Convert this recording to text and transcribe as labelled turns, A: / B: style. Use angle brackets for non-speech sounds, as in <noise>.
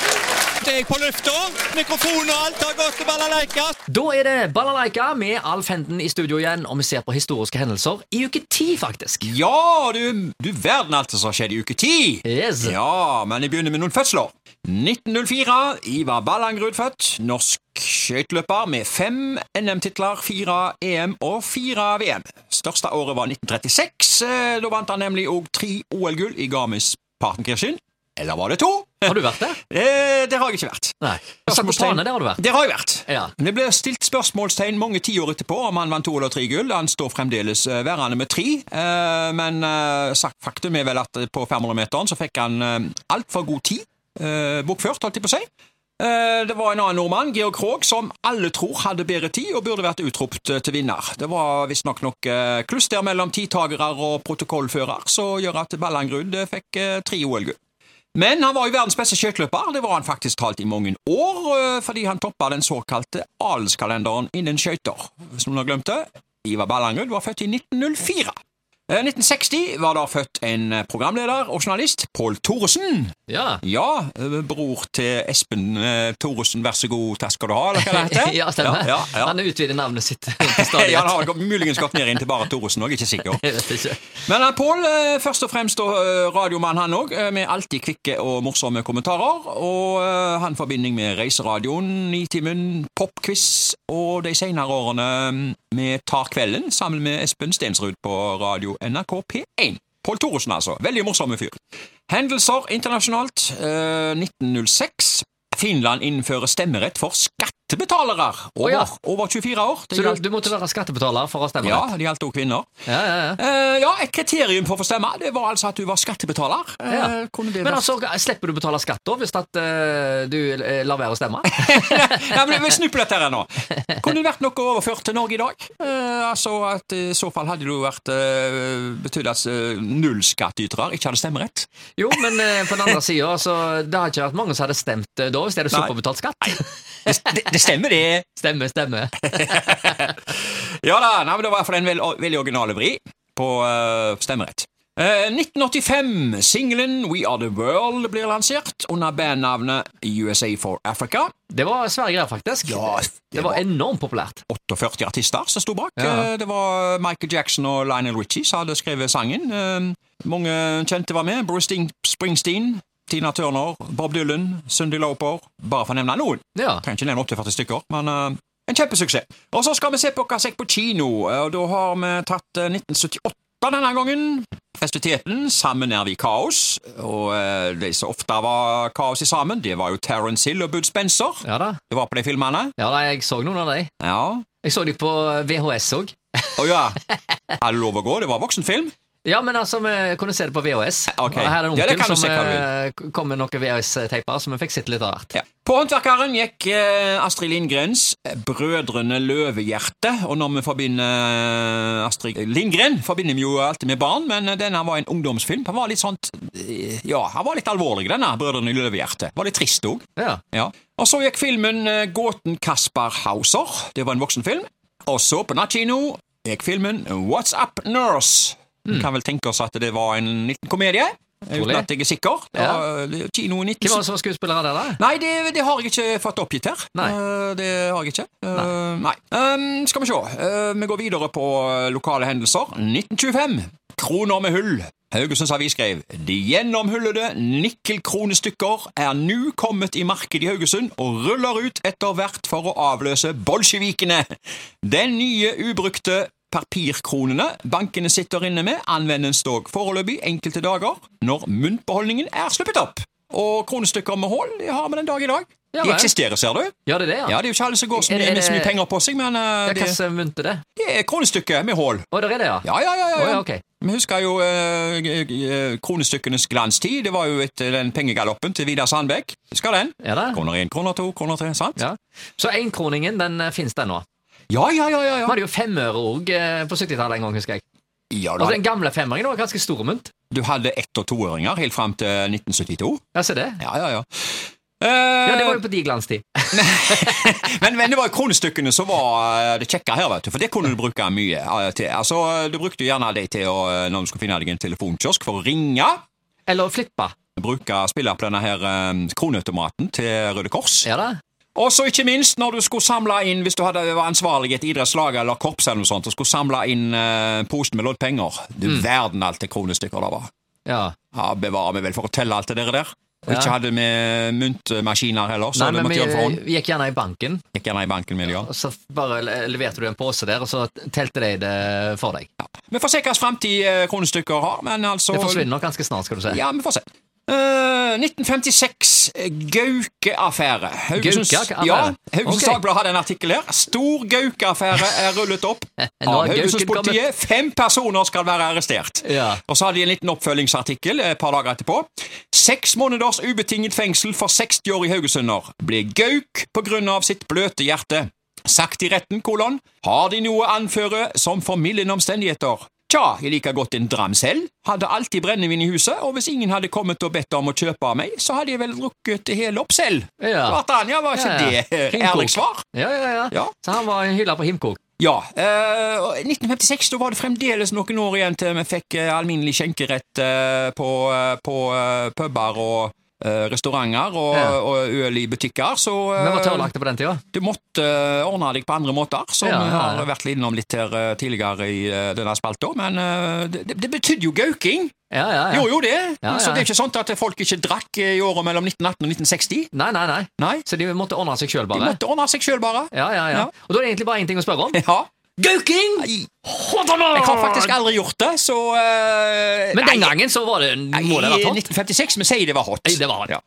A: Snart er jeg på lufta. Mikrofon og alt har gått til balalaika.
B: Da er det Balalaika med Alf Henden i studio igjen, og vi ser på historiske hendelser i uke ti, faktisk.
A: Ja, du, du verden alt som har skjedd i uke ti.
B: Yes.
A: Ja, men jeg begynner med noen fødsler. 1904. Ivar Ballangrud født. Norsk skøyteløper med fem NM-titler, fire EM og fire VM. Største året var 1936. Eh, Da vant han nemlig òg tre OL-gull i Garmisch-Partenkirchen. Eller var det to?
B: Har du vært der?
A: Eh, der har jeg ikke vært.
B: Nei. Satt på
A: Spørsmålstegn.
B: Pane, der har du vært.
A: Der har jeg vært.
B: Ja.
A: Det ble stilt spørsmålstegn mange tiår etterpå om han vant to eller tre gull. Han står fremdeles eh, værende med tre, eh, men eh, sak- faktum er vel at eh, på 500-meteren så fikk han eh, altfor god tid, eh, bokført, holdt jeg på å si. Eh, Det var en annen nordmann, Georg Krogh, som alle tror hadde bedre tid og burde vært utropt eh, til vinner. Det var visstnok nok eh, kluss der mellom tidtagere og protokollfører, som gjør at Ballangrud eh, fikk eh, tre OL-gull. Men han var jo verdens beste skøyteløper, det var han faktisk talt i mange år, øh, fordi han toppa den såkalte adelskalenderen innen skøyter. Hvis noen har glemt det, Ivar Ballangrud var født i 1904. Eh, 1960 var da født en eh, programleder og journalist, Pål Thoresen.
B: Ja.
A: Ja, eh, bror til Espen eh, Thoresen, vær så god, takk skal du ha, eller hva det
B: <laughs>
A: heter?
B: ja, stemmer.
A: Ja, ja, ja.
B: Han utvider navnet sitt stadig.
A: <laughs> Ja, han har gått- muligens gått ned inn til bare Thoresen òg, ikke sikker.
B: Jeg vet ikke.
A: Men eh, Pål, eh, først og fremst da, eh, radiomann han òg, med alltid kvikke og morsomme kommentarer. Og eh, han forbinding med Reiseradioen, Nitimen, popquiz og de senere årene mm, med Tar kvelden sammen med Espen Stensrud på radio NRK P1. Pål Thoresen, altså. Veldig morsomme fyr. Hendelser internasjonalt. eh, 1906. Finland innfører stemmerett for skattebetalere over,
B: Å ja.
A: over 24 år. Det
B: Så du,
A: gjaldt-
B: du måtte være skattebetaler for å stemme?
A: ja,
B: rett?
A: det gjaldt òg kvinner.
B: Ja, ja, ja.
A: Eh, ja, et kriterium for å få stemme Det var altså at du var skattebetaler. Eh,
B: Ja.
A: kunne det
B: Men
A: <laughs>
B: altså,
A: vært-
B: slipper du å betale skatt da, hvis at eh, du eh, lar være å stemme?
A: Nei, men Vi snur på dette her nå. Kunne det vært noe overført til Norge i dag? Eh, altså at I så fall hadde det jo vært eh, betydd at eh, nullskattytere ikke hadde stemmerett.
B: Jo, men eh, på den andre sida, så det har ikke vært mange som hadde stemt eh, da, hvis de hadde sluppet å betale skatt.
A: Det, det, det stemmer, det.
B: Stemme, stemme.
A: <laughs> Ja da, nei, men Det var i hvert fall en vel- veldig original vri på eh, stemmerett. Eh, 1985. Singelen We Are The World blir lansert under bandnavnet USA for Africa.
B: Det var Sverige her, faktisk.
A: Ja, det
B: det var
A: var-
B: enormt populært.
A: 48 artister som sto bak.
B: Ja.
A: Eh, Det var Michael Jackson og Lionel Richie som hadde skrevet sangen. Eh, Mange kjente var med. Bruce Sting- Springsteen, Tina Turner, Bob Dylan, Cyndi Lauper. Bare for å nevne noen.
B: Ja.
A: Kan ikke nevne opptil 40 stykker, men eh, en kjempesuksess. Og så skal vi se på hva som gikk på kino, eh, og da har vi tatt eh, 1978 denne gangen. Festiviteten Sammen er vi kaos, og eh, de som ofte var kaos i sammen, det var jo Terence Hill og Bud Spencer.
B: Ja da.
A: Det var på de filmene.
B: Ja, da, Jeg så noen av dem.
A: Ja.
B: Jeg så dem på VHS òg.
A: Å ja. Er det lov å gå? Det var voksenfilm.
B: Ja, men altså, vi kunne se det på VHS.
A: <laughs> Ok.
B: Og Her er en
A: Ja, det
B: onkel
A: kan du
B: som
A: se hva du vil.
B: eh, k- kom med noen VHS-teiper, så vi fikk sett litt av hvert.
A: Ja. På Håndverkeren gikk eh, Astrid Lindgrens Brødrene Løvehjerte. Og når vi forbinder Astrid Lindgren, forbinder vi jo alltid med barn, men eh, denne var en ungdomsfilm. Den var litt sånn Ja, han var litt alvorlig, denne Brødrene Løvehjerte. Var litt trist òg.
B: Ja.
A: Ja. Og så gikk filmen eh, Gåten Kaspar Hauser. Det var en voksenfilm. Og så på nattkino gikk filmen eh, What's Up Nurse.
B: Hmm.
A: Vi Kan vel tenke oss at det var en liten komedie, eh, uten
B: det.
A: at jeg er sikker. Det
B: Ja.
A: var, eh, Kino i
B: Hvem var
A: 19...
B: det som var skuespillere der, da?
A: Nei, det, det har jeg ikke fått oppgitt her.
B: Nei.
A: Eh, Det har jeg ikke. Eh, Nei. Ehm, skal vi se. Eh, vi går videre på eh, lokale hendelser. 1925. Kroner med hull. Haugesunds Avis skrev de gjennomhullede nikkelkronestykker er nå kommet i markedet i Haugesund og ruller ut etter hvert for å avløse bolsjevikene. Den nye ubrukte papirkronene bankene sitter inne med, anvendes dog foreløpig enkelte dager når myntbeholdningen er sluppet opp. Og kronestykker med hull de har vi den dag i dag.
B: Ja,
A: de
B: vel.
A: eksisterer, ser du.
B: Ja, det er det,
A: Ja, det er jo ikke alle som går så
B: Er det-
A: mye,
B: er
A: med så mye
B: det-
A: penger på seg, men eh,
B: Ja,
A: det,
B: Hva som munte det?
A: det er kronestykker med hull.
B: Å, der er det, ja.
A: Ja, ja, ja. ja,
B: Å,
A: ja.
B: ja, ok.
A: Vi husker jo eh, eh, kronestykkenes glanstid. Det var jo etter den pengegaloppen til Vidar Sandbekk. Husker den?
B: Er det?
A: Kroner én, kroner to, kroner tre. Sant?
B: Ja. Så enkroningen, den eh, finnes den nå.
A: Ja, ja, ja. ja,
B: Vi
A: ja.
B: hadde jo femmøre òg eh, på 70-tallet en gang, husker jeg.
A: ja
B: Altså,
A: da.
B: Den gamle femmeringen var ganske stor mynt.
A: Du hadde ett- og toåringer helt fram til 1972.
B: Ja, se det.
A: Ja, ja, ja.
B: Ja, Det
A: Eh,
B: var jo på de glanstid.
A: men, men det var jo kronestykkene som var eh, det kjekke her, vet du. For det kunne du bruke mye eh, til. Altså, eh, Du brukte jo gjerne de til å, eh, når du skulle finne deg en telefonkiosk for å ringe.
B: Eller flippa.
A: bruke spille på denne her eh, kronautomaten til Røde Kors.
B: Ja da.
A: Og så ikke minst når du skulle samle inn, hvis du hadde var ansvarlig i et idrettslag eller korps eller noe sånt, og skulle samle inn eh, posen med loddpenger. Du
B: Mm.
A: verden alt det kronestykker det var.
B: Ja.
A: Ja, bevare meg vel for å telle alt det dere der. Og
B: Ja.
A: ikke hadde vi myntmaskiner heller, så
B: Nei,
A: du
B: men
A: måtte
B: vi
A: gjøre det for hånd.
B: vi gikk gjerne i banken,
A: Gikk gjerne i banken med det, ja.
B: og så bare le- leverte du en pose der, og så telte de det for deg.
A: Vi får se hvilken framtid eh, kronestykker har, men altså
B: Det forsvinner nok ganske snart, skal du si.
A: Ja, vi får se. Eh, 1956, eh, Gauke-affære. Haugesunds-
B: Gauke-affære?
A: Ja, Haugesunds
B: Ok.
A: Dagblad hadde en artikkel her. Stor Gauke-affære er rullet opp
B: <laughs> Nå
A: av
B: er Gauken
A: Haugesundspolitiet. Fem personer skal være arrestert.
B: Ja.
A: Og så hadde de en liten oppfølgingsartikkel eh, et par dager etterpå. Seks måneders ubetinget fengsel for 60 år i Haugesunder. Ble gauk på grunn av sitt bløte hjerte. Sagt i retten, kolon. Har de noe å anføre som formildende omstendigheter? Tja, jeg liker godt en dram selv. Hadde alltid brennevin i huset, og hvis ingen hadde kommet og bedt om å kjøpe av meg, så hadde jeg vel drukket det hele opp selv.
B: Ja.
A: Vart Anja, var ikke
B: Ja, ja.
A: det eh,
B: Himkok.
A: ærlig svar?
B: Ja, ja, ja.
A: Ja.
B: Så han var hylla på Himkok.
A: Ja. eh, og 1956 da var det fremdeles noen år igjen til vi fikk eh, alminnelig skjenkerett eh, på, eh, på eh, puber og eh, restauranter og,
B: Ja.
A: og øl i butikker. Så eh,
B: Vi var tørrlagte på den tida.
A: du måtte eh, ordne deg på andre måter, som
B: Ja,
A: vi
B: ja, ja.
A: har vært innom litt her eh, tidligere i eh, denne spalta. Men eh, det, det betydde jo gauking!
B: Ja, ja, ja.
A: Gjorde jo det!
B: Ja,
A: Så
B: ja.
A: det er ikke sånn at folk ikke drakk eh, i åra mellom 1918 og 1960.
B: Nei, nei, nei.
A: Nei,
B: Så de måtte ordne seg sjøl,
A: de
B: bare.
A: måtte ordne seg sjøl, bare.
B: Ja, ja, ja.
A: Ja.
B: Og da er det egentlig bare én ting å spørre om.
A: Ja.
B: Gauking!
A: Jeg har faktisk aldri gjort det, så eh,
B: Men
A: nei,
B: den gangen så var det, må det ha vært
A: I
B: hot.
A: 1956, vi sier det var hot.
B: Det var hot.
A: Ja.